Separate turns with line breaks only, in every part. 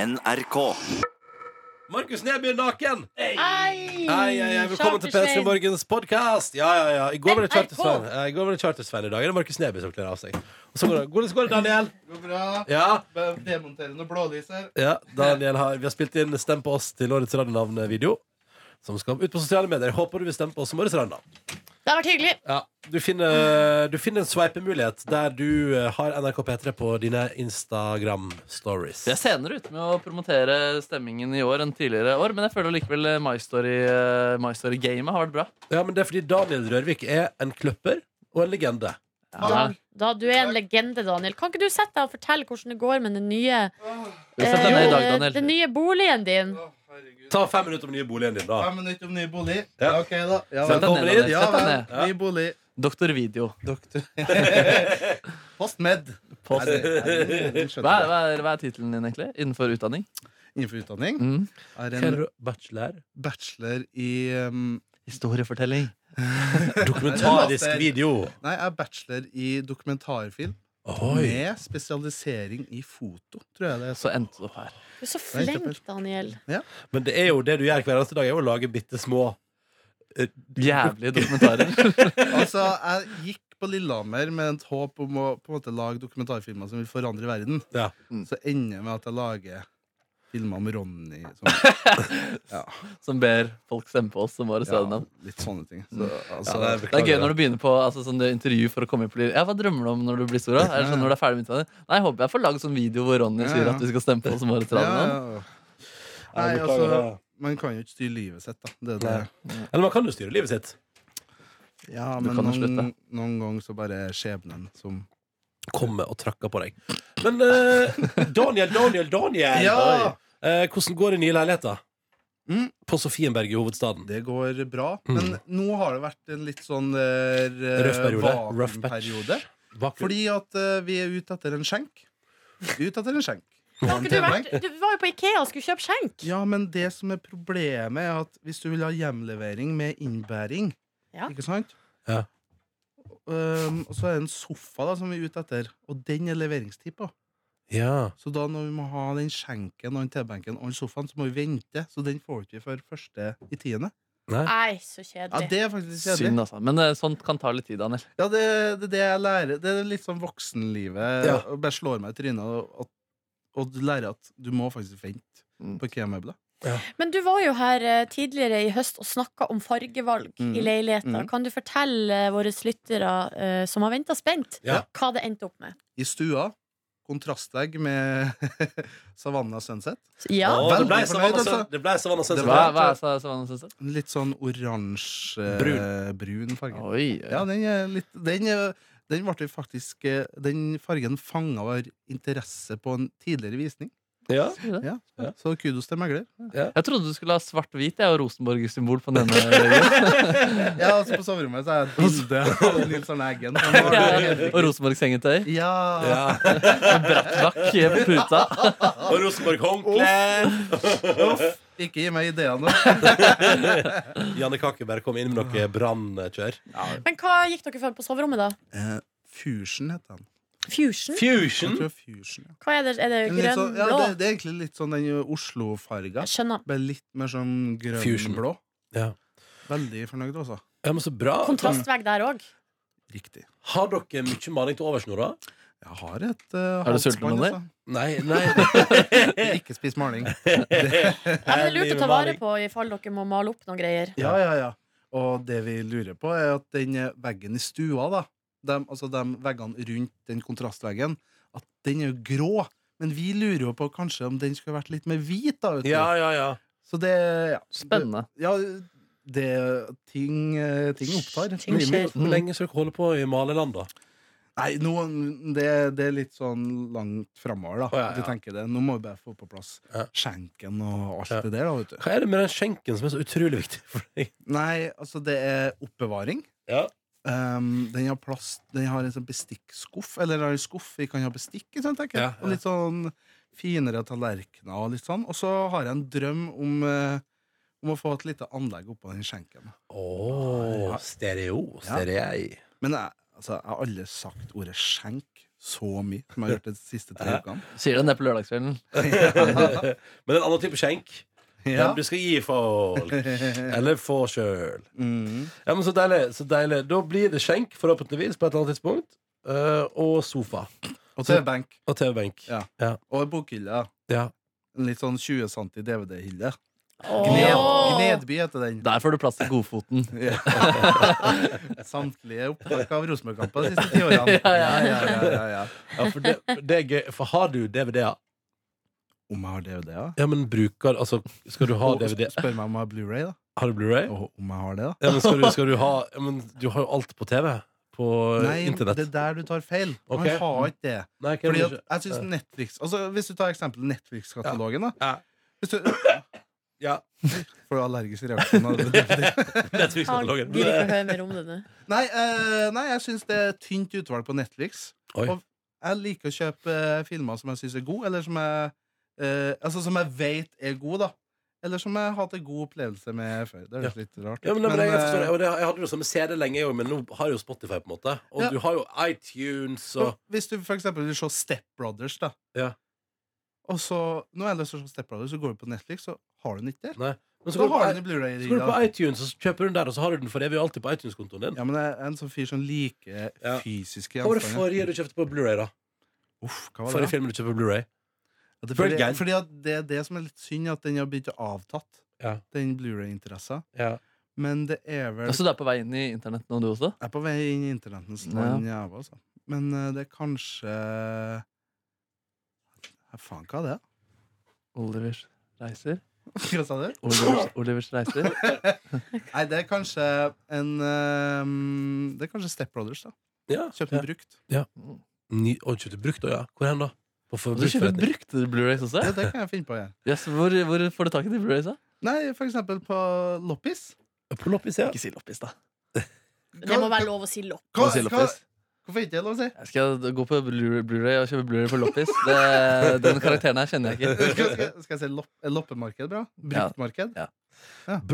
NRK.
Markus Neby er naken!
Hei!
Hei, hei,
Mm,
hei, velkommen til P3
Charter-Svein.
Morgens podkast! Ja, ja, ja. I går var det
NRK.
Charter-Svein. I går var det Charter-Svein i dag. er Det er Markus Neby som kler av seg. Og så går det, Hvordan går det, Daniel?
går bra.
Ja,
Bare Demontere noen blålys her.
ja Daniel har, Vi har spilt inn Stem på oss til årets radionavn-video. Som skal ut på sosiale medier. Håper du vil stemme på oss som årets radionavn.
Det har vært hyggelig.
Ja, du finner, du finner en sveipemulighet der du eh, har NRK P3 på dine Instagram-stories.
Vi er senere ute med å promotere stemmingen i år enn tidligere år, men jeg føler likevel eh, My Story-gamet My Story gamet har vært bra.
Ja, men Det er fordi Daniel Rørvik er en kløpper og en legende.
Da, da, du er en legende, Daniel. Kan ikke du sette deg og fortelle hvordan det går med den nye,
Vi har sett deg ned i dag,
eh,
Daniel.
den nye boligen din?
Å, herregud.
Ta fem minutter om den nye boligen din, da.
Fem minutter om ny bolig.
Ja.
OK, da. Ja, vel.
Sett deg ned, Daniel.
Ja,
Sett deg
vel.
ned.
Ja.
Ny bolig.
Doktor Video.
Doktor Postmed.
Post.
Er det- er det- den skjønner
Hva er, hva er, hva er tittelen din, egentlig? Innenfor utdanning?
jeg. Innenfor utdanning.
Mm.
Er
Hva er
en
det du- Bachelor?
bachelor i um,
Historiefortelling.
Dokumentarisk video.
Nei, jeg er bachelor i dokumentarfilm
Oi.
med spesialisering i foto, tror jeg det er.
Så endte det opp her.
Du er så
Nei,
flink,
kløpper.
Daniel.
Men det er jo det du gjør hver eneste dag, er jo å lage bitte små
Jævlige dokumentarer.
Altså, jeg gikk på Lillehammer med et håp om å på en måte lage dokumentarfilmer som vil forandre verden.
Ja.
Mm.
Så ender jeg med at jeg lager filmer om Ronny. Som
Som ber folk stemme på oss som årets
Ja,
radionavn.
litt sånne ting. Så, altså,
Ja,
Det er gøy når du begynner på altså, sånn det intervju for å komme inn på liv. Ja, Hva drømmer du om når du blir stor? da? Er det sånn når du er ferdig med utdanning? Nei, jeg håper jeg får lagd sånn video hvor Ronny
Ja,
sier
ja.
at vi skal stemme på oss som årets
ja,
radionavn.
ja, ja.
Ja,
Nei,
beklager
altså, man kan jo ikke styre livet sitt, da. Det, er
Nei.
det.
det. Eller man kan jo styre livet sitt.
Ja, men
Du kan jo
noen,
slutte.
noen ganger så bare er skjebnen som
Komme og trakke på deg. Men eh, Daniel, Daniel, Daniel!
Ja!
Oi. Eh, hvordan går det i nye leiligheter?
Mm.
På Sofienberg i hovedstaden.
Det går bra.
Mm.
Men nå har det vært en litt sånn eh,
Røff periode. Rough patch.
vakuumperiode.
Vakuum.
Fordi at eh, vi er ute etter en skjenk. Vi er ute etter en skjenk.
Har ikke du, vært, du var jo på Ikea og skulle kjøpe skjenk.
Ja, men det som er problemet, er at hvis du vil ha hjemlevering med innbæring
Ja.
Ikke sant?
Ja.
Um, og så er det en sofa da som vi er ute etter, og den er leveringstid på.
Ja.
Så da når vi må ha den skjenken og den tebenken og den sofaen, så må vi vente. Så den får vi ikke før første i tiende.
Nei, så
Ja,
kjedelig.
det er faktisk kjedelig.
Synd, altså. Men eh, sånt kan ta litt tid, Daniel.
Ja, det er det, er det jeg lærer. Det er litt sånn voksenlivet.
Ja.
Og bare slår meg i trynet og, og, og du lærer at du må faktisk vente
Mm.
på IKEA-møbler.
Men du var jo her eh, tidligere i høst og snakka om fargevalg
Mm.
i leiligheter.
Mm.
Kan du fortelle eh, våre lyttere eh, som har venta spent,
Ja.
hva det endte opp med?
I stua. Kontrastvegg med Savanna Sunset.
Ja,
Å, det
veldig
ble
fornøyd,
Savanna
altså.
Søn- det ble Savanna Sønsen.
Hva, hva er sa- Savannah Sunset?
Litt sånn oransje-brun farge.
Oi, oi.
Ja, den er litt Den, er- den ble vi faktisk eh, Den fargen fanga vår interesse på en tidligere visning.
Ja.
Ja.
Ja.
Så kudos til megler.
Jeg trodde du skulle ha svart-hvit jeg, og Rosenborg-symbol på denne. veggen.
Ja, altså På soverommet så er det et bilde av Nils Arne Eggen.
og Rosenborg-sengetøy.
Ja.
Ja.
Brattbakk på eh, puta.
Og Rosenborg håndkle!
Ikke gi meg ideene.
Janne Kakeberg kom inn med noe brannkjør.
Men hva gikk dere for på soverommet, da?
Eh, Fusion heter den.
Fusion?
Jeg
Fusion.
tror Fusion. ja.
Hva er det? Er det
En litt
grønn,
sånn- ja,
blå?
det, det er egentlig litt sånn den Oslo-farga.
Jeg skjønner.
Bare litt mer sånn
Fusion.
grønn-blå.
Ja.
Veldig fornøyd, altså.
Ja, men så bra.
Kontrastvegg der òg.
Riktig.
Har dere mye maling til overs nå, da?
Jeg har et uh,
Er du sulten, Ronny?
Nei, nei.
Ikke spis maling.
Ja, men det er lurt å ta vare på i fall dere må male opp noen greier.
Ja, ja, ja. Og det vi lurer på, er at den eh, veggen i stua, da, dem- altså de veggene rundt den kontrastveggen, at den er jo grå. Men vi lurer jo på kanskje om den skulle vært litt mer hvit, da. Vet du.
Ja, ja, ja.
Så det ja.
Spennende.
Ja, det ting, eh, ting opptar.
Ting
Blir med.
skjer.
Hvor lenge skal dere holde på i maleland, da?
Nei, nå- det, det er litt sånn langt framover, da.
Å, ja, ja.
Du tenker det. Nå må vi bare få på plass
Ja.
skjenken og alt
Ja.
det der, da, vet du.
Hva er det med den skjenken som er så utrolig viktig for deg?
Nei, altså det er oppbevaring.
Ja.
Um, den har plass Den har en sånn bestikkskuff, eller en skuff vi kan ha bestikk i. Sånn, tenker jeg.
Ja, ja.
Og litt sånn finere tallerkener og litt sånn. Og så har jeg en drøm om, eh, om å få et lite anlegg oppå den skjenken.
Åh, stereo. Stereo.
Men jeg, altså, jeg har aldri sagt ordet skjenk. så mye som jeg har gjort de siste tre ukene.
Sier det neppe lørdagskvelden.
Men en annen type skjenk.
Ja.
Den du skal gi folk. Eller få sjøl.
Mm.
Ja, men så deilig, så deilig. Da blir det skjenk, forhåpentligvis, på et eller annet tidspunkt. eh, og sofa.
Og TV-benk.
Og TV-benk.
Ja. Og en bokhylle.
Ja.
En litt sånn 20 cm DVD-hylle. Gned,
Åh.
Gnedby heter den.
Der får du plass til godfoten.
Ja. Samtlige opptak av Rosenborg-kampen de siste ti årene.
Ja, ja,
ja, ja.
Ja, for, det, det er gøy. for har du DVD-er?
Om jeg har DVD, ja?
Ja, men bruker Altså, skal du ha
Og
DVD?
Spør meg om jeg har Blu-ray, da.
Har du Blu-ray?
Og om jeg har det, da.
Ja, men skal du, skal du ha ja, men Du har jo alt på TV. På
Nei,
internett.
det er der du tar feil. Man
Ok.
har ikke det.
Nei, kan
Fordi
du
at
ikke?
jeg synes Netflix altså Hvis du tar eksempel Netflix-katalogen, da.
Ja.
Hvis du
Ja.
Får du allergiske reaksjoner?
Han gir ikke å høre mer om det nå.
Nei, eh, nei, jeg syns det er et tynt utvalg på Netflix.
Oi.
Og jeg liker å kjøpe eh, filmer som jeg syns er gode, eller som jeg, eh, altså, som jeg vet er gode, da. Eller som jeg har hatt en god opplevelse med før. Det høres litt rart ut.
Ja, men, det- men jeg,
eh,
forstår det. Og det, jeg hadde det som CD lenge, jeg òg, men nå har jeg jo Spotify, på en måte. Og
Ja.
du har jo iTunes og
Hvis du for eksempel vil se Step Brothers, da.
Ja.
Og så, Nå har jeg lyst til å se Step Brothers, så går du på Netflix, så har du den ikke der.
Men så
Så
går, du
har du den
på,
i Blu-ray.
så går du på
da.
iTunes, og så kjøper du den der, og så har du den for evig og alltid på iTunes-kontoen din.
Ja, men jeg er en sånn fyr som liker
Ja.
fysiske
Hva var det
gjenstander.
forrige du kjøpte på Blu-ray, da?
Uff, hva var det?
Forrige filmen du kjøpte på Blu-ray?
Ja, det er
Pearl
fordi,
Gang.
fordi at det er det som er litt synd, at den har begynt å avtatt,
Ja.
den Blu-ray-interessa.
Ja.
Men det er vel
Så du er på vei inn i internett nå, du også?
Jeg er på vei inn i internettens
Altså Ja.
land, jeg òg, altså. Men eh, det er kanskje ja, Faen, hva er det?
Olivers reiser?
Hva sa du?
Olivers, Olivers reiser?
Nei, det er kanskje en eh, Det er kanskje Step Brothers, da.
ja.
Kjøpt
ja.
den brukt.
Ny, og kjøpte brukt òg, ja. Hvor hen, da? På
Og Du kjøper
forbruksforretning?
brukte Blu-rays også?
Ja, det kan jeg finne på å gjøre.
Yes, hvor, hvor får du tak i de Blu-rays? da?
Nei, for eksempel på Loppis.
På loppis, ja.
Ikke si loppis, da.
Det må være lov å si lopp.
Kan si loppis.
Hvorfor ikke? Lov å si.
Jeg skal gå på Blu- Blu-ray og kjøpe Blu-ray for loppis. Det, den karakteren her kjenner jeg ikke.
Skal, skal, skal jeg si lopp, er loppemarked bra?
Ja.
Bruktmarked?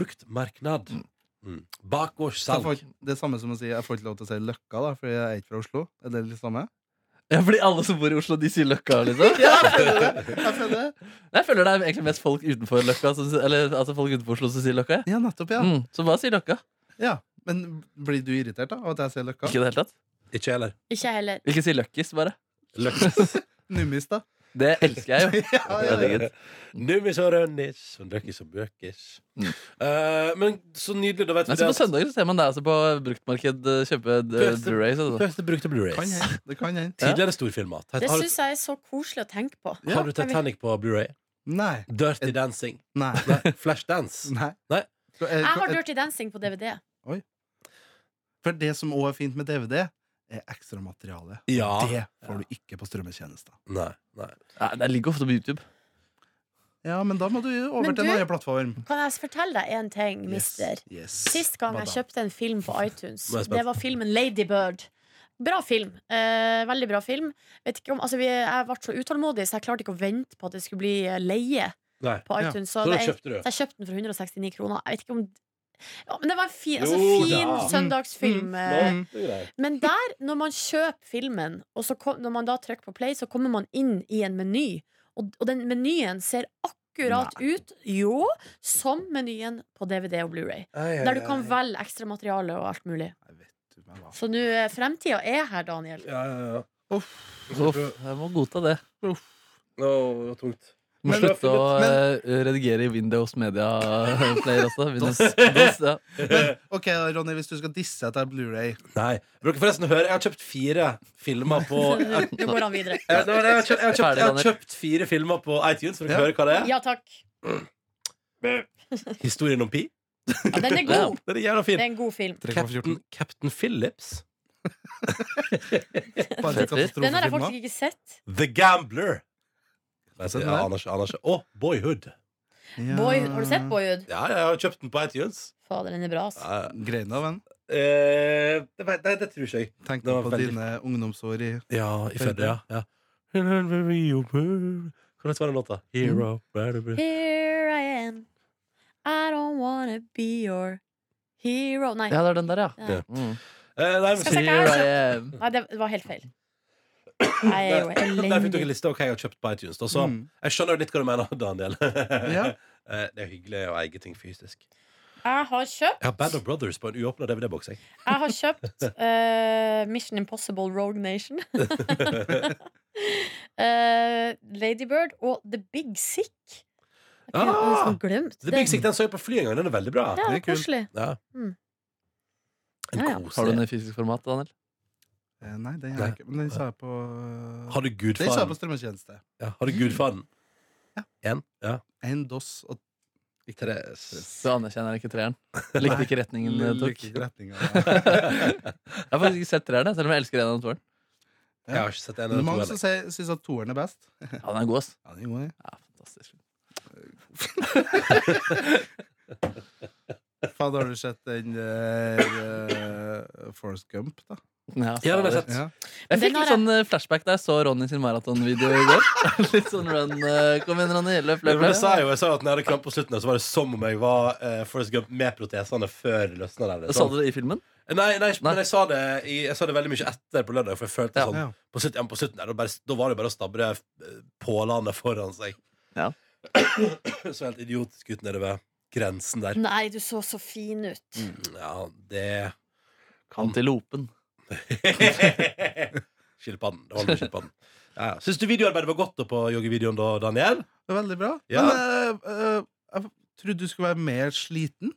Brukt merknad. Mm.
Så jeg får
Bakgårdssalg.
ikke- Det er samme som å si jeg får ikke lov til å si Løkka, da, fordi jeg er ikke fra Oslo. Er det litt samme?
Ja, fordi alle som bor i Oslo, de sier Løkka, liksom.
Jeg føler det.
Jeg føler det er egentlig mest folk utenfor Løkka som, Eller altså folk utenfor Oslo som sier Løkka. Ja.
Ja, nettopp, ja.
Mm, så bare si Løkka.
ja. Men blir du irritert da, av at jeg sier Løkka?
Ikke i det hele tatt.
Ikke jeg heller.
Ikke jeg heller.
Ikke si Løkkis, bare.
Løkkis.
Nummis, da?
Det elsker jeg jo.
Ja, ja, ja.
Herregud.
Nummis og rønnis. og Løkkis og bøkis.
Mm.
Eh, men så nydelig, da vet
Nei,
vi
så
det.
på søndager så ser man deg altså på bruktmarked eh, kjøpe eh,
Første-
Blu-rays. Altså.
Første brukte
Kan
Blu-rays.
hende. Det kan hende.
Tidligere storfilmer. Har,
Det
har,
syns jeg er så koselig å tenke på.
Ja, Eh,
har du Titanic på Blu-ray?
Nei.
Dirty Dancing.
Nei.
Nei, Flashdance.
Nei. eh,
Nei.
Så er-
Jeg har Dirty Dancing på DVD.
For det som òg er fint med DVD, er ekstramateriale.
Ja.
Det får du ikke på strømmetjenester.
Nei, nei.
Nei, det ligger ofte på YouTube.
Ja, men da må du over
Men
til en
du-
annen plattform.
Kan jeg fortelle deg en ting, mister?
Yes.
Sist gang jeg
Madam.
kjøpte en film på iTunes,
Nå er jeg spent.
det var filmen Ladybird. Bra film. Eh, veldig bra film. Vet ikke om, altså, vi, jeg ble så utålmodig, så jeg klarte ikke å vente på at det skulle bli eh, leie
nei.
på
Ja,
iTunes.
Så
Så,
da
det,
kjøpte du.
så jeg kjøpte den for 169 kroner. Jeg vet ikke om ja, Men det var en fin, altså,
Jo
fin
da. Mm.
søndagsfilm. eh,
Nå, det er greit.
Men der, når man kjøper filmen, og så kom, når man da trykker på play, så kommer man inn i en meny. Og, og den menyen ser akkurat ut, jo, som menyen på DVD og Blu-ray. Der du
Eh.
kan velge ekstramateriale og alt mulig.
Nei, vet du meg hva.
Så nå eh, fremtida er her, Daniel.
Ja, ja, ja.
Uff, jeg må godta det.
Å, det var tungt.
Må
Men-
slutte å
men-
eh, redigere i Windows Media Player også. Windows, DOS, ja.
Men, ok, Ronny, hvis du skal disse etter Blu-ray
Eh, Nei. Vil dere forresten høre? Jeg har kjøpt fire filmer på
Så nå nå går han videre.
Eh, nei, nei, jeg, har kjøpt, jeg, har kjøpt, jeg har
Ferdig,
kjøpt fire filmer på iTunes. Vil dere
Ja.
høre hva det er?
Ja takk.
Historien om Pi.
Ja, den er god.
Den er jævla
Det
fin.
er en god film.
Captain, Captain Phillips.
Bare til katastrofefilmer.
Den har jeg faktisk ikke sett.
The Gambler. Nei, så-
Den
ja,
der.
Anders, Anders. Og Boyhood.
Ja.
Boy, har du sett Boyhood?
Ja, jeg har kjøpt den på iTunes.
Fader, den er bra, ass.
Ja, ja.
Greina, venn.
Eh, det, vet- nei, det tror ikke jeg.
Tenk
Det var
på
veldig-
dine ungdomsår i
Ja, i Fedre, ja. ja.
Fedre.
Hvordan var den låta? Hero. Mm.
Here I am. I don't wanna be your hero. Nei.
ja, det er den der, ja.
Ja.
Mm.
Eh, nei, men,
E
Skal jeg
Here I am.
Nei, det var helt feil. Jeg er jo
Der fikk dere
elendig.
liste over hva jeg har kjøpt på iTunes. Da. Så
Mm.
jeg skjønner jo litt hva du mener, Daniel.
Ja.
Eh, Det er hyggelig å eie ting fysisk.
Jeg har
Jeg
kjøpt,
har Band of Brothers på en uåpna DVD-boks. jeg.
jeg har kjøpt eh, Mission Impossible Rogue Nation. Eh, Ladybird og The Big Sick. Jeg kunne
Ah!
liksom glemt
The
det.
Big Sick den så jeg på flyet en gang. Den er veldig bra.
Ja,
det er kult.
koselig.
Ja.
Mm.
En
Ja, ja.
Har du
koselig
den i fysisk format, Daniel?
Eh, Nei, den
Nei.
har jeg ikke. Men den sa jeg på
Har du
Den sa jeg
Gudfaren?
på strømmetjeneste.
Ja. Har du Gudfaren?
Ja.
En? Ja.
En DOS og
Så anerkjenner jeg ikke treeren. Likte ikke
eh,
retningen det tok.
Lykke- retninga.
Jeg har faktisk ikke sett treeren, jeg, selv om jeg elsker en av toeren.
Jeg har ikke sett en
Det
eller
er
to
mange
heller.
som sier- syns at toeren er best.
Ja, den er god, ass.
Ja, den er god, den.
Ja, fantastisk.
Faen, har du sett den der eh, Forrest Gump, da?
Ja,
Ja, den er
fader.
fett.
Ja.
jeg
Den
fikk
har
litt sånn eh, flashback da jeg så Ronny sin maratonvideo i går. Litt sånn run eh, Kom igjen, Ronny. Løp,
Ja,
løp,
men det
løp.
sa jeg jo. Jeg sa jo at når jeg hadde krampe på slutten, så var det som om jeg var eh, Forrest Gump med protesene før det løsna der. liksom.
Sa du det i filmen?
Nei, nei,
Nei.
men jeg sa, det, i, jeg sa det veldig mye etter på lørdag, for jeg følte
Ja.
sånn
Ja.
På slutten, ja, på slutten der, da, bare, da var det bare å stabbe eh, pålene foran seg.
Ja.
Så helt idiotisk ut nede ved grensen der.
Nei, du så så fin ut.
Ja, det
Antilopen.
Skilpadden. Det holder med skilpadden. Ja, ja. Syns du videoarbeidet var godt da på joggevideoen, da, Daniel?
Det er veldig bra.
Ja.
Men eh, eh, jeg trodde du skulle være mer sliten.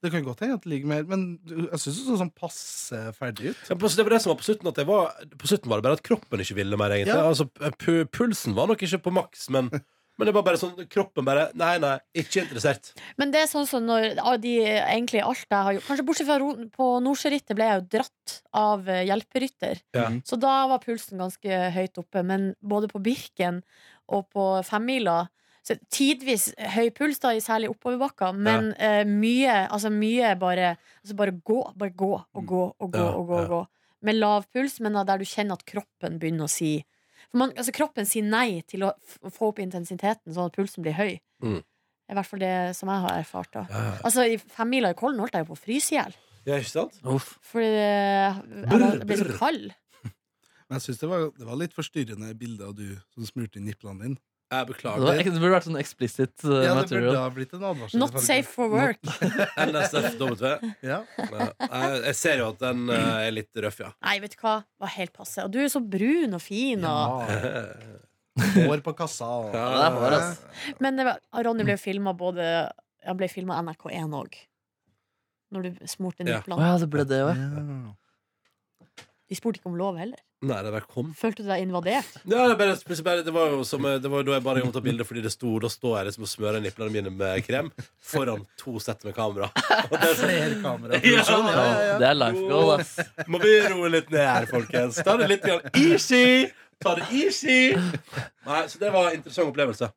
Det kan godt hende at det ligger mer, men du- jeg syns du så sånn passe ferdig ut.
Ja, på, det var det som var på slutten. At jeg var, på slutten var det bare at kroppen ikke ville mer, egentlig.
Ja.
Altså, pu pulsen var nok ikke på maks, men, men det var bare sånn Kroppen bare Nei, nei, ikke interessert.
Men det er sånn som når av de, egentlig alt jeg har gjort Kanskje bortsett fra ro- på Nordsjørittet ble jeg jo dratt av eh, hjelperytter.
Ja.
Så da var pulsen ganske høyt oppe. Men både på Birken og på femmila så Tidvis høy puls, da, i særlig oppoverbakka, men eh, mye, altså mye bare altså Bare gå, bare gå og gå og gå
Mm. Ja,
og gå.
ja.
Og gå. Med lav puls, men der du kjenner at kroppen begynner å si for man, altså Kroppen sier nei til å f få opp intensiteten, sånn at pulsen blir høy.
Mm.
I hvert fall det som jeg har erfart. da
Ja,
Altså I femmila i Kollen holdt jeg jo på å fryse i hjel.
ja ikke sant?
Uff.
Fordi jeg, var-
Brr,
jeg ble så
brr.
kald.
Men jeg syns det, var- det var litt forstyrrende bilde av du som smurte inn nipplene dine.
Jeg
Det,
beklager.
var, det burde vært sånn explicit eh,
Ja, det burde
material.
ha blitt en advarsel.
Not
selvfølgelig.
safe for work.
NSFW.
Ja.
Ja. Jeg, jeg ser jo at den eh, er litt røff, ja.
Nei, vet du hva? Var helt passe. Og du er så brun og fin. Og...
ja. Hår på kassa. Og.
Ja, Mm. det er hår, ass.
Men det var, Ronny ble jo filma både Han ble filma NRK1 òg. Når du smurte
Ja.
Å
nipplene.
ja, det ble det òg.
Ja.
De spurte ikke om lov heller.
Nei, det bare kom.
Følte du deg invadert?
Ja, det, bare, plutselig bare, det var jo som, eh, det var jo da jeg bare gjorde opp bildet fordi det sto Da står jeg liksom og smører nipplene mine med krem foran to sett med kamera. Og det er sånn,
Flere kameraproduksjon. Ja, Sånn, ja, ja.
Det er life goal, ass.
Må vi roe litt ned her, folkens? Ta det litt grann easy! Ta det easy! Nei, så det var en interessant opplevelse.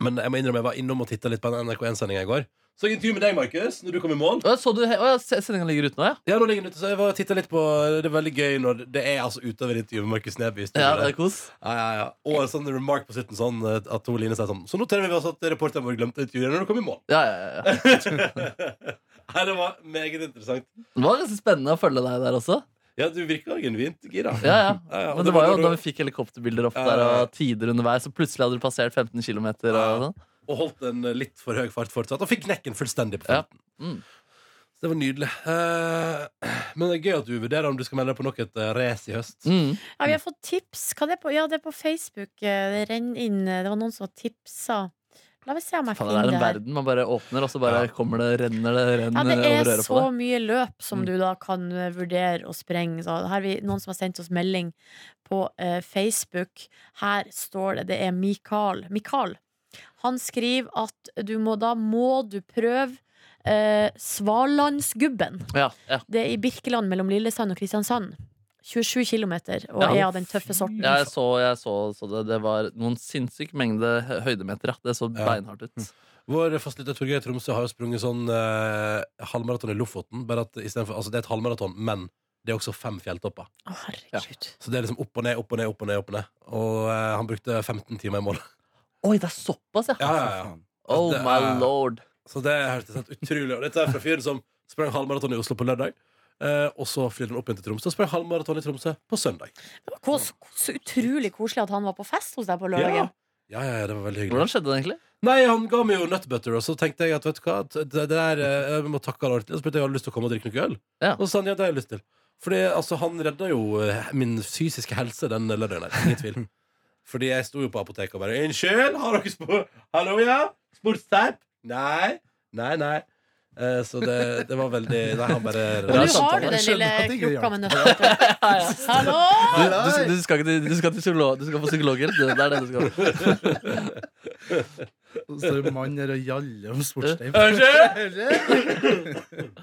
Men jeg må innrømme jeg var innom og titta litt på en NRK1-sending i går. Så jeg intervju med deg, Markus, når du kom i mål.
Å, så du he- å, ja, Sendinga ligger ute nå, ja?
Ja, nå ligger den ute, så jeg var og tittet litt på Det er veldig gøy når det er altså utover intervjuet med Markus Neby. i studio.
Ja, det er kos.
ja, ja, ja. Og en sånn remark på slutten sånn eh, at hun Line sier sånn Så noterer vi oss at reporteren vår glemte å intervjue når du kom i mål.
Ja, ja, ja, ja.
Nei, det var meget interessant.
Det var ganske spennende å følge deg der også.
Ja, du virka genuint gira.
Ja, ja.
Ja, ja, og
Men
det
det var
var
jo
når du-
da vi fikk helikopterbilder opp
Ja,
der,
ja, ja.
og tider underveis, og plutselig hadde du passert 15 km. Og sånn.
Og holdt en eh, litt for høy fart fortsatt. Og fikk knekken fullstendig på
Ja.
farten.
Mm.
Så det var nydelig. Eh, men det er gøy at du vurderer om du skal melde deg på nok et eh, race i høst.
Mm.
Ja, vi har fått tips. Hva er det på? Ja, det er på Facebook. Eh, Det renner inn eh, Det var noen som tipsa. La meg se om jeg
Faen,
finner
det er
det.
en
her.
verden man bare åpner, og så bare
Ja.
kommer det, renner det,
Ja,
renner
det
over
er
øret på
så
deg.
mye løp som
Mm.
du da kan eh, vurdere å sprenge. Så her er vi, noen som har sendt oss melding på eh, Facebook. Her står det, det er Mikael. Mikael. Han skriver at du må, da må du prøve eh, Svalandsgubben.
Ja, ja.
Det er i Birkeland mellom Lillesand og Kristiansand. 27 km, og
Ja.
er av den tøffe sorten. altså.
Jeg så, jeg så, så det. Det var noen sinnssyk mengde hø- høydemeter. ja. Det så
Ja.
beinhardt ut.
Vår fastlytter Torgeir Tromsø har jo sprunget sånn eh, halvmaraton i Lofoten. Bare at i stedet for, altså Det er et halvmaraton, men det er også fem fjelltopper.
Å, herregud.
Så det er liksom opp og ned, opp og ned, opp og ned. opp Og ned Og eh, han brukte 15 timer i mål.
Oi, det er såpass, ja!
Ja, ja, ja.
Oh
Det
my
er-
lord.
Så det hørtes helt utrolig Og dette er fra fyren som sprang halvmaraton i Oslo på lørdag. Eh, og så flyr den opp igjen til Tromsø og sprang halvmaraton i Tromsø på søndag.
Det var kos- Så utrolig koselig at han var på fest hos deg på
Ja.
lørdagen.
Ja, ja, det var veldig hyggelig.
Hvordan skjedde det egentlig?
Nei, han ga meg jo nøttbutter, og så tenkte jeg at vet du hva, at det det der, eh, jeg må takke han ordentlig. Og så spurte jeg om jeg hadde lyst til å komme og drikke noe øl.
Ja.
Og så sa han ja, det har jeg lyst til. Fordi altså, han redda jo eh, min fysiske helse den lørdagen her. Ingen tvil. Fordi jeg sto jo på apoteket og bare 'Unnskyld, har dere spor... Hallo, ja? Sportsteip?' Nei. Nei, nei. Eh, så det, det var veldig Nei, han bare
Og
Ja,
nå
sant,
har du
jeg
den lille
skjønner at det ikke
krukka
hjalp.
med nøtter. Hallo!
Du, du, du, skal, ikke, til- du skal til psykolog, du skal få psykologhjelp. Det, det er det du skal.
Så står det mann der og gjaller om sportsteip.
Unnskyld!
Eller?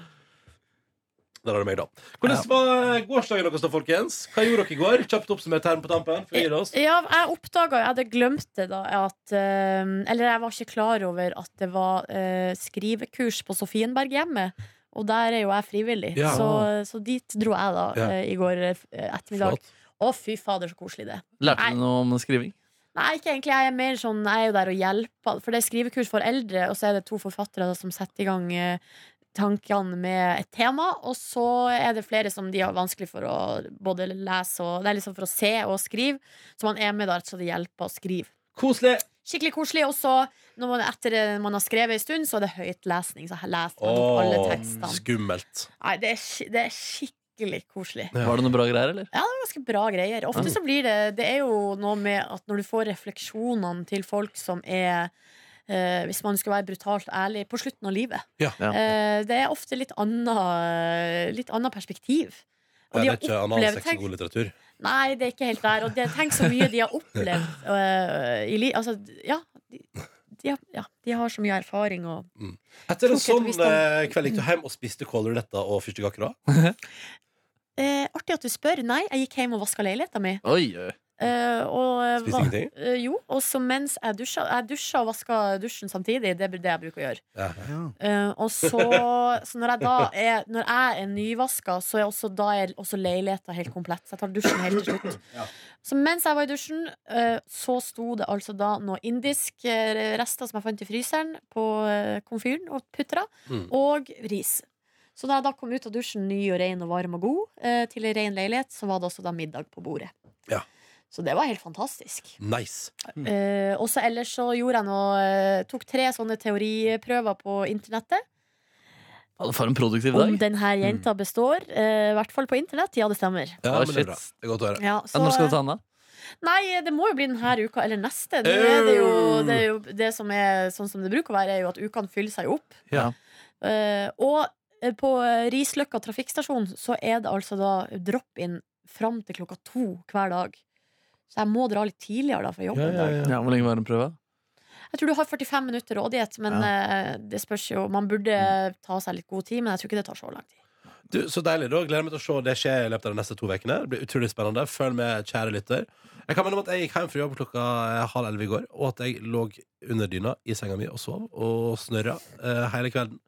Der har du meg, da. Hvordan var eh, gårsdagen deres, da, folkens? Hva gjorde dere i går? Kjapt oppsummert her på tampen. Før vi gir oss.
Eh, Ja, jeg oppdaga Jeg hadde glemt det da at eh, Eller jeg var ikke klar over at det var eh, skrivekurs på Sofienberghjemmet. Og der er jo jeg frivillig,
Ja.
så, så dit dro jeg da
Ja.
eh, i går eh, ettermiddag. Å, fy fader, så koselig det er.
Lærte du noe om skriving?
Nei, ikke egentlig. Jeg er mer sånn, jeg er jo der og hjelper. For det er skrivekurs for eldre, og så er det to forfattere som setter i gang eh, tankene med et tema. Og så er det flere som de har vanskelig for å både lese og Det er liksom for å se og skrive. Så man er med der, så det hjelper å skrive.
Koselig.
Skikkelig koselig. Og så, når man, etter eh, man har skrevet en stund, så er det høytlesning. Så her leser man opp alle
Åh,
tekstene.
Skummelt.
Nei, det er, sk- det er skikkelig koselig.
Ja.
Var det noe bra greier, eller?
Ja, det er ganske bra greier. Ofte så blir det Det er jo noe med at når du får refleksjonene til folk som er eh, hvis man skal være brutalt ærlig på slutten av livet.
Ja.
Ja.
Eh, det er ofte litt annet litt annet perspektiv. Og
Det
de
er
har
ikke
opplevd
analsex
tenk,
og god litteratur.
Nei, det er ikke helt der. Og det, tenk så mye de har opplevd eh, i livet. Altså, ja, de, de, har- ja, de har så mye erfaring og
Etter en
Tok et
sånn
visst
eh, kveld gikk du hjem og spiste kålruletter og fyrstekakere.
eh, Artig at du spør. Nei, jeg gikk hjem og vaska leiligheta mi.
Oi, oi.
Eh, og, eh,
Spiste
hva-
ingenting.
Eh, jo, og så mens jeg dusja Jeg dusja og vaska dusjen samtidig. Det er det jeg bruker å gjøre.
Ja.
Ja.
Eh, og så, så når jeg da er Når jeg er nyvaska, så er også, da er også leiligheta helt komplett. Så jeg tar dusjen helt til slutt.
Ja.
Så mens jeg var i dusjen, eh, så sto det altså da noe indisk eh, rester som jeg fant i fryseren, på eh, komfyren og putra,
Mm.
og ris. Så da jeg da kom ut av dusjen ny og ren og varm og god, eh, til ei ren leilighet, så var det også da middag på bordet.
Ja.
Så det var helt fantastisk.
Nice.
Eh, og så ellers så gjorde jeg noe eh, Tok tre sånne teoriprøver på internettet.
Faen, For en produktiv
Om
dag. Mm.
den her jenta består. eh, I hvert fall på internett. Ja, det stemmer.
Ja,
Ah,
men det er bra.
shit.
Det er godt å høre.
Ja,
Ja,
så,
når skal du ta den, da?
Nei, det må jo bli denne uka eller neste. Nå er det, jo, det, er jo, det som er sånn som det bruker å være, er jo at ukene fyller seg jo opp.
Ja.
Eh, og eh, på eh, Risløkka trafikkstasjon så er det altså da drop-in fram til klokka to hver dag. Så jeg må dra litt tidligere da fra jobb en dag.
Ja, hvor lenge var den prøva?
Jeg tror du har 45 minutter rådighet, men eh, det spørs jo. Man burde ta seg litt god tid, men jeg tror ikke det tar så lang tid.
Du, så deilig. da Gleder meg til å se det skje i løpet av de neste to ukene. Det blir utrolig spennende. Følg med, kjære lytter. Jeg kan mene om at jeg gikk hjem fra jobb klokka eh, halv elleve i går, og at jeg lå under dyna i senga mi og sov og snørra eh, hele kvelden.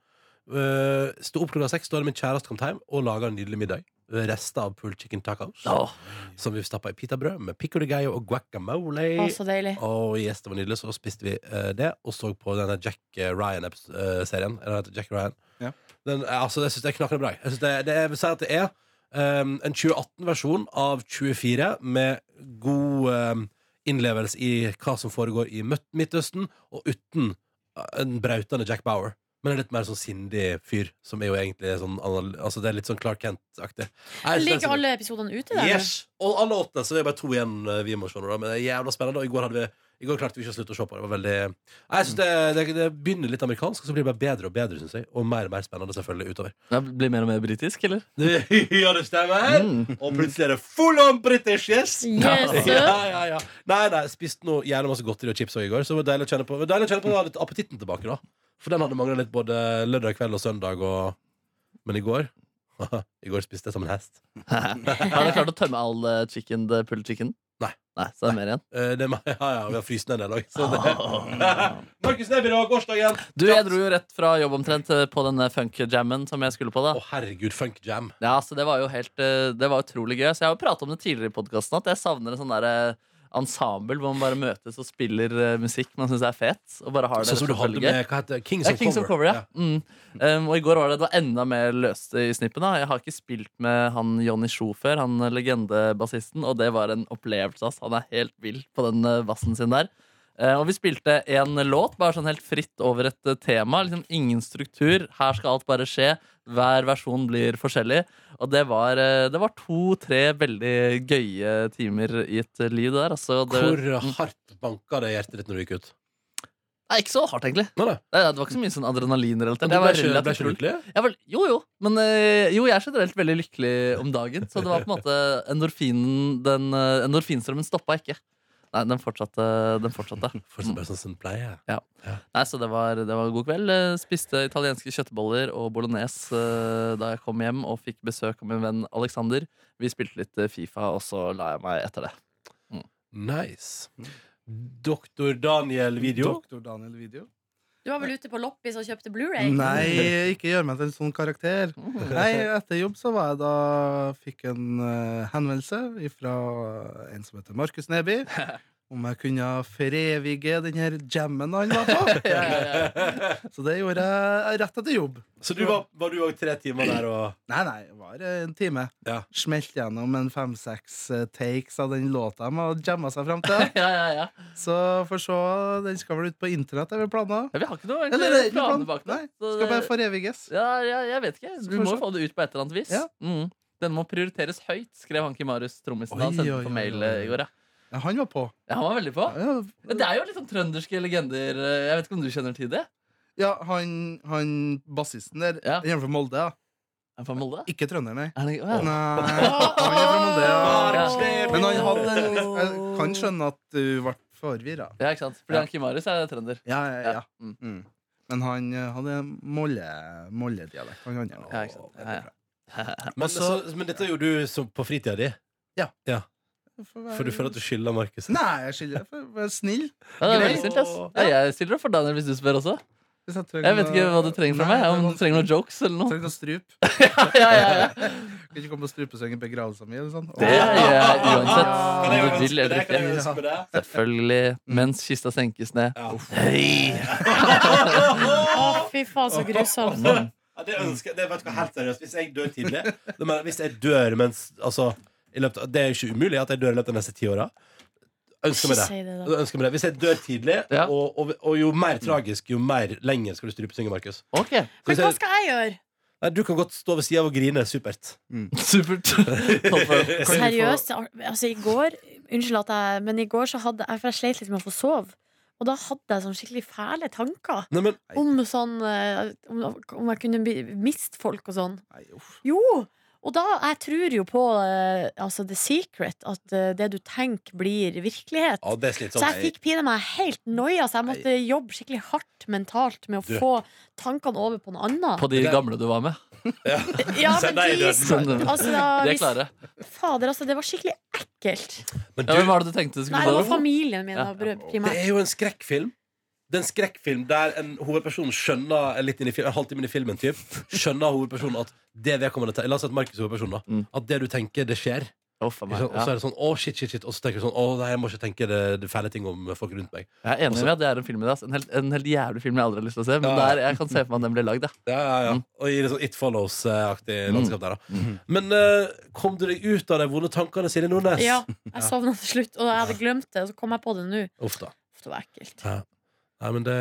Uh, Sto opp klokka seks, da hadde min kjæreste kommet hjem og laga en nydelig middag. Rester av pulled chicken tacos,
Åh,
som vi stappa i pitabrød med pico de gallo og guacamole.
Å, så deilig.
Og yes, det var nydelig, så spiste vi eh, det Og så på denne Jack eh, Ryan-serien Jack Ryan
Ja.
den, eh, Altså, det synes jeg er knakende bra Jeg synes det, det, jeg vil si at det er um, en 2018-versjon av 24 Med god um, innlevelse i hva som foregår i Mø- Midtøsten Og uten eh, en brautende Jack Bauer men en litt mer sånn sindig fyr Som er jo egentlig sånn anal- Altså det er litt sånn Clark Kent-aktig Jeg synes den
Ligger
ser-
alle episodene ute der?
Yes! Og alle åtte, så det er bare to igjen eh, vi må se nå, da. Men det er jævla spennende. Og i går, hadde vi, i går klarte vi ikke å slutte å se på det. det var veldig... Nei, Jeg synes det, det, det begynner litt amerikansk, og så blir det bare bedre og bedre, synes jeg. Og mer og mer spennende, selvfølgelig, utover.
det blir mer og mer britisk, eller?
ja, det stemmer!
Mm.
Og plutselig er det full on British, yes!
Yes, sir.
ja, ja, ja. Nei, nei, spiste noe jævlig masse godteri og chips også i går, så det var deilig å kjenne på det var deilig å kjenne på å ha litt appetitten tilbake, da. For den hadde manglet litt både lørdag kveld og søndag, og... Men i går I går spiste jeg som en hest.
Har du klart å tømme all eh, chicken, the pulled chicken?
Nei.
Nei, Så det er mer igjen?
Eh, det, er meg- ja, ja, vi har fryst ned en del òg, så det
Åh.
Markus Neby, da. Gårsdagen.
Du, jeg dro jo rett fra jobb omtrent eh, på denne funk-jammen som jeg skulle på. da
Å, herregud, funk jam.
Ja, så Det var jo helt eh, Det var utrolig gøy. Så Jeg har jo pratet om det tidligere i podkasten, at jeg savner en sånn derre ensemble hvor man bare møtes og spiller eh, musikk man syns er fet. Og bare har det
Sånn som du
som
hadde
følge.
med hva heter, det? Kings
Ja,
of
Kings
Cover.
of Cover, ja. Mm. Um, og i går var det, det var enda mer løste i snippen. da Jeg har ikke spilt med han Johnny Sjo før, han eh, legendebassisten, og det var en opplevelse. ass. Han er helt vill på den eh, bassen sin der. Eh, og vi spilte en låt, bare sånn helt fritt over et eh, tema. Liksom Ingen struktur. Her skal alt bare skje. Hver versjon blir forskjellig. Og det var, eh, det var to-tre veldig gøye timer i et eh, liv der. Altså, det,
Hvor hardt banka det hjertet ditt når du gikk ut?
Nei, ikke så hardt, egentlig.
Nei, nei.
Det, det var ikke så mye sånn adrenalinrelatert.
Men
Det
du
var
ble ikke,
relativt
ble ikke
rolig.
lykkelig?
Ja, vel, jo, jo. Men eh, jo, jeg er generelt veldig lykkelig om dagen. Så det var på en måte endorfinen den, eh, Endorfinstrømmen stoppa ikke. Nei, den fortsatte. Den fortsatte.
Fortsatt bare sånn som den pleier.
Nei, så det var, det var god kveld. Eh, Spiste italienske kjøttboller og bolognese eh, da jeg kom hjem, og fikk besøk av min venn Alexander. Vi spilte litt eh, Fifa, og så la jeg meg etter det.
Nice.
Mm.
Doktor Daniel-video.
Doktor Daniel-video?
Du var vel ute på loppis og kjøpte Blu-ray?
Nei, ikke gjør meg til en sånn karakter. Nei, etter jobb så var jeg da Fikk en eh, henvendelse fra en som heter Markus Neby, om jeg kunne forevige den her jammen han var på.
Ja, ja, ja.
Så det gjorde jeg rett etter jobb.
Så du var, var du òg tre timer der og
Nei, nei, det var en time.
Ja.
Smelt gjennom en fem-seks eh, takes av den låta de har jamma seg fram til.
ja, ja, ja.
Så får se, den skal vel ut på internett, er vel planer?
Vi har ikke noe
Eller,
egentlig,
ikke plan.
planer bak det.
Nei,
så
Skal bare
det-
foreviges.
Ja, ja, jeg vet ikke.
Så
Du
får vi
må
se.
få det ut på et eller annet vis.
Ja.
Mm. Den må prioriteres høyt, skrev Hanki Marius Trommisen da
Oi,
han sendte
oi,
på
oi,
mail
oi, oi.
eh, i går. Ja.
Ja, han var på.
Ja, han var veldig på.
Ja,
Men Det er jo litt sånn trønderske legender. eh, Jeg vet ikke om du kjenner til det?
ja han, han bassisten der,
Ja.
han er fra Molde, ja.
Er han fra Molde?
Ikke trønder, nei.
Er han ikke? Å, ja.
Nei, han er fra Molde, ja.
Markus
Men han hadde en Jeg kan skjønne at du ble forvirra.
ja, ikke sant? Fordi
Ja.
Hanki Marius er trønder.
Ja, ja, ja.
Mm.
Mm. Men han eh, hadde Molle- Molle-dialekt, han andre.
Ja, ikke sant. Ja, altså- ja.
men, så, men dette gjorde du som på fritida di? For du føler at du skylder Markus?
Nei, jeg skylder for å være snill.
Ja, det er
Greit.
veldig snilt, ass. Ja, jeg stiller opp for Daniel hvis du spør også.
Hvis jeg, trenger
Jeg vet ikke hva du trenger fra
Nei,
meg. Om
jeg
du trenger noen jokes eller noe.
trenger noe strup.
Ja, ja, ja.
Kan ikke komme på strupesøng i begravelsen min. Eller sånn.
Det gjør jeg uansett.
Ah, Kan jeg
Om
ønske
du vil
deg? Kan
eller ikke.
jeg ønske deg?
Selvfølgelig. Mens kista senkes ned.
Ja.
Hei!
Å, fy faen, så grusomt.
Ja, det ønsker det, vet du hva, helt seriøst Hvis jeg dør tidlig det mener, Hvis jeg dør mens altså, i løpet, av- Det er jo ikke umulig at jeg dør i løpet av de neste ti åra Ønsker meg
Ikke
det
si det, da.
Ønsker meg det. Hvis jeg dør tidlig,
Ja.
og, og, og jo mer tragisk, jo mer lenger skal du strupesynge, Markus.
Ok,
Så hvis
Men hva
jeg-
skal jeg gjøre?
Nei, Du kan godt stå ved sida av og grine. Supert.
supert.
Kan
Topp for-
vi få-
Seriøst, altså i går Unnskyld at jeg Men i går så hadde jeg For jeg sleit litt med å få sove Og da hadde jeg sånn skikkelig fæle tanker
Nei, men,
Om sånn eh, Om, om jeg kunne bli- miste folk og sånn
Nei, uff.
Jo og da, jeg tror jo på eh, altså The Secret At eh, det du tenker blir virkelighet
ja, det er
Så jeg
slitsomt.
fikk pine meg helt nøya Så jeg måtte jobbe skikkelig hardt mentalt Med å
Du.
få tankene over på noe annet
På de gamle du var med.
Ja,
Send
men
deg i
de
døden.
Sånn, de
Altså, da,
er
hvis,
klare.
fader, altså, det var skikkelig ekkelt
Men
Ja, hvem
du,
var det du tenkte du
Nei,
skulle
det var
få?
familien min da,
Ja.
br-
det
primært.
er jo en skrekkfilm. Det er en skrekkfilm der en hovedperson skjønner litt inn i fil- en halvtime inn i filmen typ, Skjønner hovedpersonen at det vedkommende te- La oss si at Markus er hovedpersonen, da.
Mm.
At det du tenker, det skjer.
Å, faen
Ikke sant? Og
meg,
så
ja.
er det sånn å, shit, shit, shit. Og så tenker du sånn å, nei, jeg må ikke tenke det, det fæle ting om folk rundt meg.
Jeg er enig
Også-
med at det er en film i det. ass. En helt, en helt jævlig film jeg aldri har lyst til å se. Men
Ja.
der, jeg kan se for meg at den ble lagd. ja.
Ja, ja, ja.
Mm.
Og i litt sånn It Follows-aktig
Mm.
landskap der, da.
Mhm.
Men eh, kom du deg ut av de vonde tankene, Silje Nordnes?
Ja, jeg sovna til slutt, og jeg hadde glemt det, og så kom jeg på det nå.
Uff da.
Uff, Det var ekkelt.
Nei, men det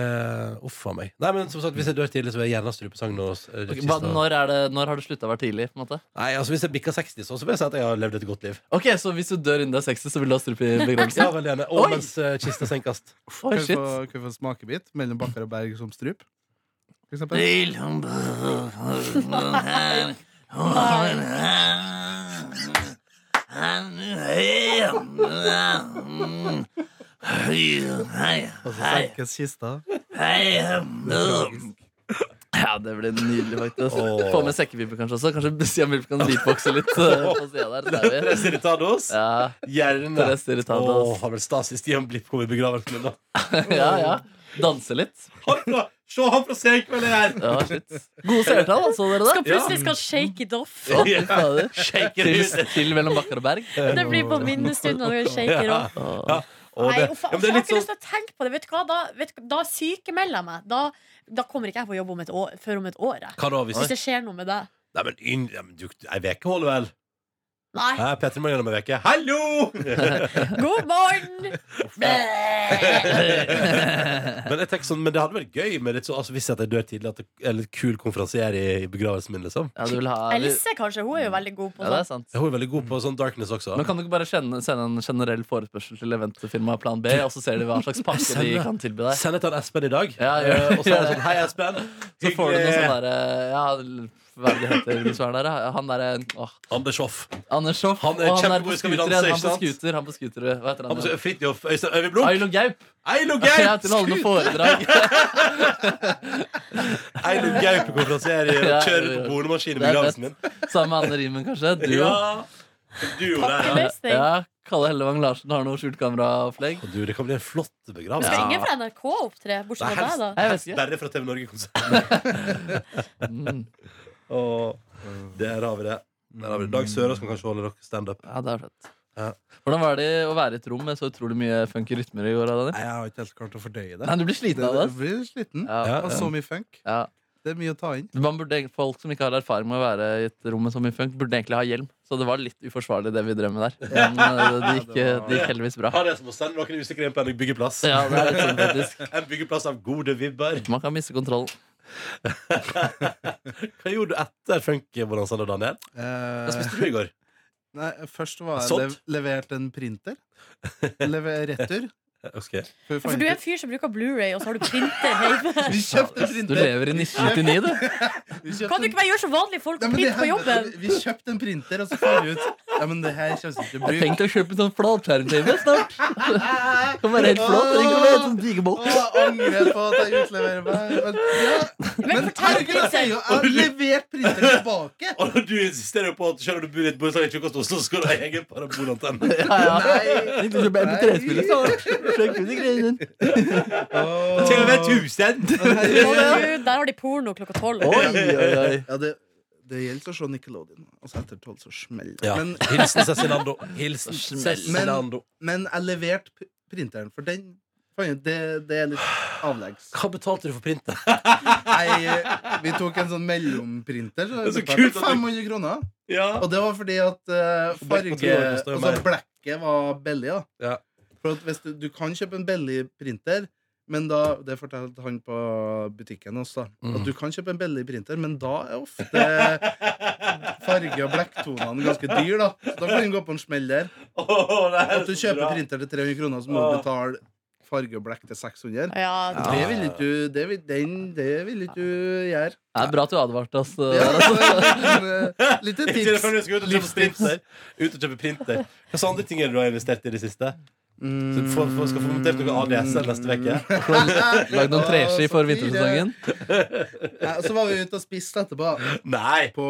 Uff a meg. Nei, men som sagt, hvis jeg dør tidlig, så vil jeg gjerne ha strupesang nå. eh,
Ok,
siste-
hva, når, er det, når har du slutta å være tidlig? på en måte?
Nei, altså Hvis jeg bikker 60, så, så vil jeg si at jeg har levd et godt liv.
Ok, Så hvis du dør innen du er 60, så vil du ha strupe i begravelsen?
Ja, veldig gjerne. Og
Oi!
mens eh, kista senkes.
Kan
Oi,
vi
shit.
få, kan vi få smakebit mellom Bakkar og Berg som strup? For eksempel. Og så senkes kista.
Ja, det blir nydelig, faktisk.
Åh.
Få med sekkepipe kanskje også. Kanskje Stian Wilp kan beatboxe litt. eh, på siden der, så er vi.
Tres irritados.
Ja,
Gjerne.
Tres Irritados.
Åh, har vel Stas i Stian Blipp kommet i begravelsen min, da?
ja, ja. Danse litt.
Han fra, se han fra Senkveldet her!
Ja, shit. Gode seertall, altså, dere
Skal
der.
plutselig skal shake it off.
Å, fy fader.
Shake
Til,
it ut!
til mellom bakker og berg.
Det blir på minnestunden når vi shake it
Ja.
off.
Å.
Ja. Og
Nei,
det,
uff,
ja, men
jeg
det er
har
litt
ikke lyst
sånn
til å tenke på det. Vet du hva? Da, vet du, da sykemelder jeg meg. Da, da kommer ikke jeg på jobb om et år, før om et år. Jeg.
Hva da, hvis
Hvis det skjer noe med deg.
Nei, men inn, ja, men du, ei veke holder vel?
Nei.
Hæ, Petter må gjennom ei veke. Hallo!
God morgen!
Men jeg tenker sånn, men det hadde vært gøy med litt så, altså, hvis jeg dør tidlig, at det er litt kul konferansier i i begravelsen min, liksom.
Ja, du vil ha
Elise, kanskje. Hun er jo veldig god på
Ja, det er
sånt.
sant.
Jeg er veldig god på sånn darkness også.
Men kan du ikke bare sende, sende en generell forespørsel til eventfirmaet Plan B, og så ser de hva slags pakke de kan tilby deg?
Send et til han Espen i dag.
Ja, gjør det.
Eh, Og så er det sånn Hei, Espen.
Så får du noe
Hyggelig.
sånn derre Ja, hva er det heter du som er der, da? Han derre åh,
Anders Hoff.
Anders Hoff.
Han er
Å,
kjempegod
på
i Skal vi
scooter
danse,
igjen.
ikke sant?
Han på scooter, han på scooter. Hva heter
Han
han?
på
igjen?
Fridtjof Øystein Øyvibrunk.
Ailo Gaup!
Eilo
Ja,
Gaup!
til alle noen foredrag.
Eilo Gaup konferansier i å
Ja,
kjøre
ja, ja.
på boligmaskin i
Det er
begravelsen min.
Sammen med Anne Rimen, kanskje. Du
Ja.
òg.
Duo der. ja.
Pakkeløsning.
Ja, Kalle Hellevang Larsen har noe skjult kameraopplegg.
Du, det kan bli en flott
Det
begravelse.
skal
Ja.
sånn. ingen fra NRK opptre, bortsett
Nei,
fra deg, da.
Jeg vet ikke.
Sperre fra TV Norge-konsert.
Mm.
Der har vi det. Der har vi det. Dag Sørås kan kanskje holde dere standup.
Ja, det er fett.
Ja.
Hvordan var det å være i et rom med så utrolig mye funky rytmer i går? Daniel?
Nei, jeg har ikke helt klart å fordøye det.
Nei, du blir sliten av det.
Jeg blir sliten.
Ja,
Ja,
Av
ja.
så mye funk.
ja.
Det er mye å ta inn.
Man burde, folk som ikke har erfaring med å være i et rom med så mye funk, burde egentlig ha hjelm. Så det var litt uforsvarlig, det vi drev med der. Men eh, det gikk, eh, det gikk heldigvis bra.
Ha det som å sende noen usikre inn på en byggeplass.
Ja, det er litt sånn faktisk.
En byggeplass av gode vibber.
Man kan miste kontrollen.
Hva gjorde du etter funkbonanzaen, Daniel? Hva
Eh,
spiste du i går?
nei, først var jeg lev
Sånt.
levert en printer. Lever retur.
Eh, Ok.
For vi
For
fant
du er
ut-
en fyr som bruker Blu-ray og så har du printer hjemme.
vi kjøpte
Du
printer!
lever i 1999, du.
Vi
Kan du
kjøpte en-
ikke bare gjøre som vanlige folk
Nei,
og
men det
printe på
her-
jobben?
Vi vi kjøpte en printer, og så fant vi ut Ja, men det her kommer vi ikke til å
Jeg
bruke.
tenkte å kjøpe en sånn flatskjerm-TV snart. Det kan være helt flott. Det kan være en
Å,
sånn digeboks.
jeg angrer på at jeg utleverer meg. Men, ja.
Men
men
fortell,
herregud, altså, jeg sier jo Jeg har levert printeren tilbake!
Og når du insisterer på at selv om du bor i et borettslag i tjukkast Oslo, så skal du ha egen parabolantenne.
Ja, ja.
Nei.
Tenkte å kjøpe MP3-spiller snart. Sjekk ut de greiene.
Til og med tusen!
Herregud, Der har de porno klokka tolv.
Oi, oi, oi.
Ja, det, det gjelder å se Nickelodeon. Altså etter tolv så smeller det.
Ja.
Men,
Hilsen Cezinando. Hilsen
Smell.
Cezinando.
men jeg leverte p- printeren, for den fant jeg ut, det, det er litt avleggs.
Hva betalte du for printet?
Jeg, vi tok en sånn mellomprinter. Så
Det er så
jeg
kult at
betalte
du-
500 kroner.
Ja.
Og det var fordi at eh,
Black-
farge Altså
mer.
blekket var billig, da.
Ja.
For at hvis du, du kan kjøpe en billig printer, men da Det fortalte han på butikken hos, da.
Mm.
At du kan kjøpe en billig printer, men da er ofte farge- og blekktonene ganske dyr, da. Så da kan du gå på en smell der. At du kjøper printer til 300 kroner, så må du betale farge og blekk til 600.
Ja,
Det vil ikke du det vil, den, det vil ikke du gjøre.
Det er bra at du advarte oss.
Ja,
eh,
altså, Lite tips.
Tips. Ut og kjøpe printer. Ut og kjøpe printer. Hva slags andre ting er det du har investert i det siste? Så du får, får, skal få montert noe
Mm.
ADSL neste uke.
Lagd noen treski for vintersesongen.
Ja, og så var vi ute og spiste etterpå.
Nei!
På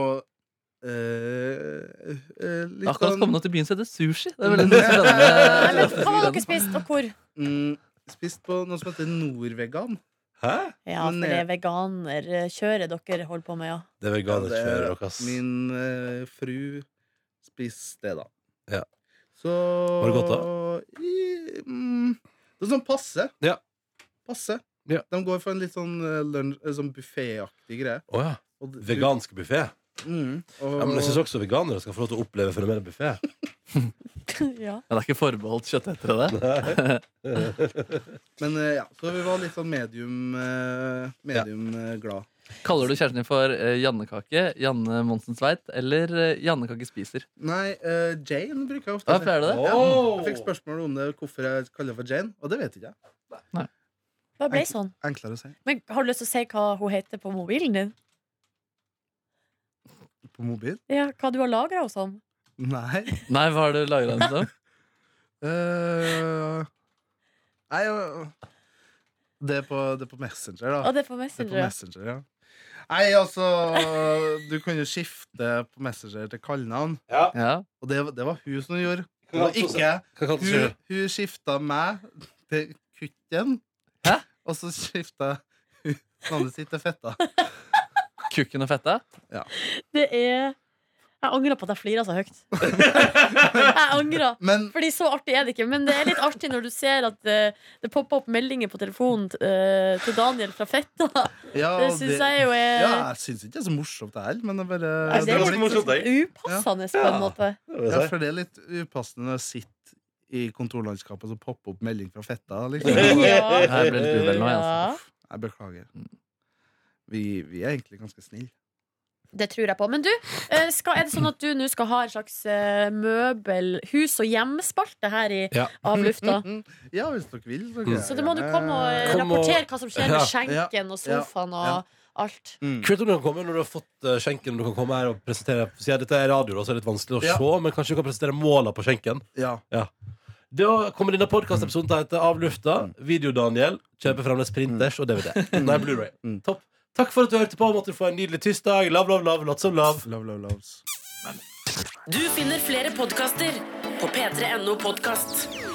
eh, eh, litt
Akkurat
sånn-
kommet til byen som heter sushi. Det er veldig spennende.
Nei, men Hva har
altså.
dere spist, og hvor?
mm, Spist på noe som heter Nordvegan.
Hæ?
Ja, for
Men,
det
eh,
er veganerkjøret dere holder på med, ja.
Det er veganerkjøret
Det-
deres. ass.
Min eh, fru spiste det, da.
Ja.
Så
Var det godt,
I, mm, det er sånn passe.
Ja.
Passe.
Ja.
De går for en litt sånn, eh, lunsj- eh, sånn bufféaktig greie.
Å ja.
Og du-
Vegansk buffé.
Mm, og,
Ja, men jeg syns også veganere skal få lov til å oppleve fenomenet buffé.
ja.
Men det er ikke forbeholdt kjøttetere, det.
men, eh, ja, så vi var litt sånn medium, eh, medium eh, glad.
Kaller du kjæresten din for eh, Jannekake, Janne Monsen Sveit eller eh, Jannekake spiser?
Nei, eh, Jane bruker jeg ofte.
Ja,
å si.
pleier du det?
Jeg fikk spørsmål om det, hvorfor jeg kaller henne for Jane, og det vet ikke jeg.
Hva ble sånn?
Enklere å si.
Men har du lyst til å si hva hun heter på mobilen din?
På mobil?
Ja, hva du har sånn? lagra hos ham?
Nei.
Nei, hva har du lagra den som?
Eh, Nei, jo, det er, på, det er på Messenger, da.
Å, det er på
Det er på
Messenger. ja.
Messenger, ja. Nei, altså Du kan jo skifte på Messenger til kallenavn.
Ja.
Og det, var- det var hun som gjorde. Det var ikke jeg.
Hva kalte du
Hun, hun skifta meg til kukken.
Hæ?
Og Og så skifta jeg navnet sitt til Fetta.
Kukken og fetta?
Det er Jeg angrer på at jeg flirer så høyt. jeg angrer.
Men
Fordi så artig er det ikke, men det er litt artig når du ser at eh, det popper opp meldinger på telefonen eh, til Daniel fra Fetta.
ja,
Det syns jeg jo er
Ja, jeg syns ikke det er så morsomt, det heller, men det er bare
Nei,
det er ganske
litt-
morsomt, det.
sånn upassende på en
Ja.
måte.
Ja,
Det
for det er litt upassende å sitte i kontorlandskapet og så poppe opp melding fra Fetta. Liksom.
Ja.
Jeg ble litt uvel nå. jeg,
Ja.
Altså.
Jeg beklager. Vi, vi er egentlig ganske snille.
Det tror jeg på. Men du, eh, skal, er det sånn at du nå skal ha en slags eh, møbel-, hus- og hjemspalte her i
Ja.
av lufta?
ja, hvis dere vil. Så,
Mm.
Så da må du komme og eh,
Kom og-
rapportere hva som skjer med
Ja.
skjenken og sofaen
Ja.
og alt.
Mm.
Kult om du kan komme når du har fått eh, skjenken og du kan komme her og presentere Siden dette er radio, da, så er det litt vanskelig å
Ja.
se, men kanskje du kan presentere måla på skjenken.
Ja.
Da kommer denne podkastepisoden til å hete Av lufta. Video-Daniel kjøper fremdeles printers og DVD. Nei, Blu-ray.
Mm.
Topp. Takk for at du hørte på. Måtte du få en nydelig tirsdag. Love, love, love. Lots of love.
Love, love, loves.
Du finner flere podkaster på p3.no podkast.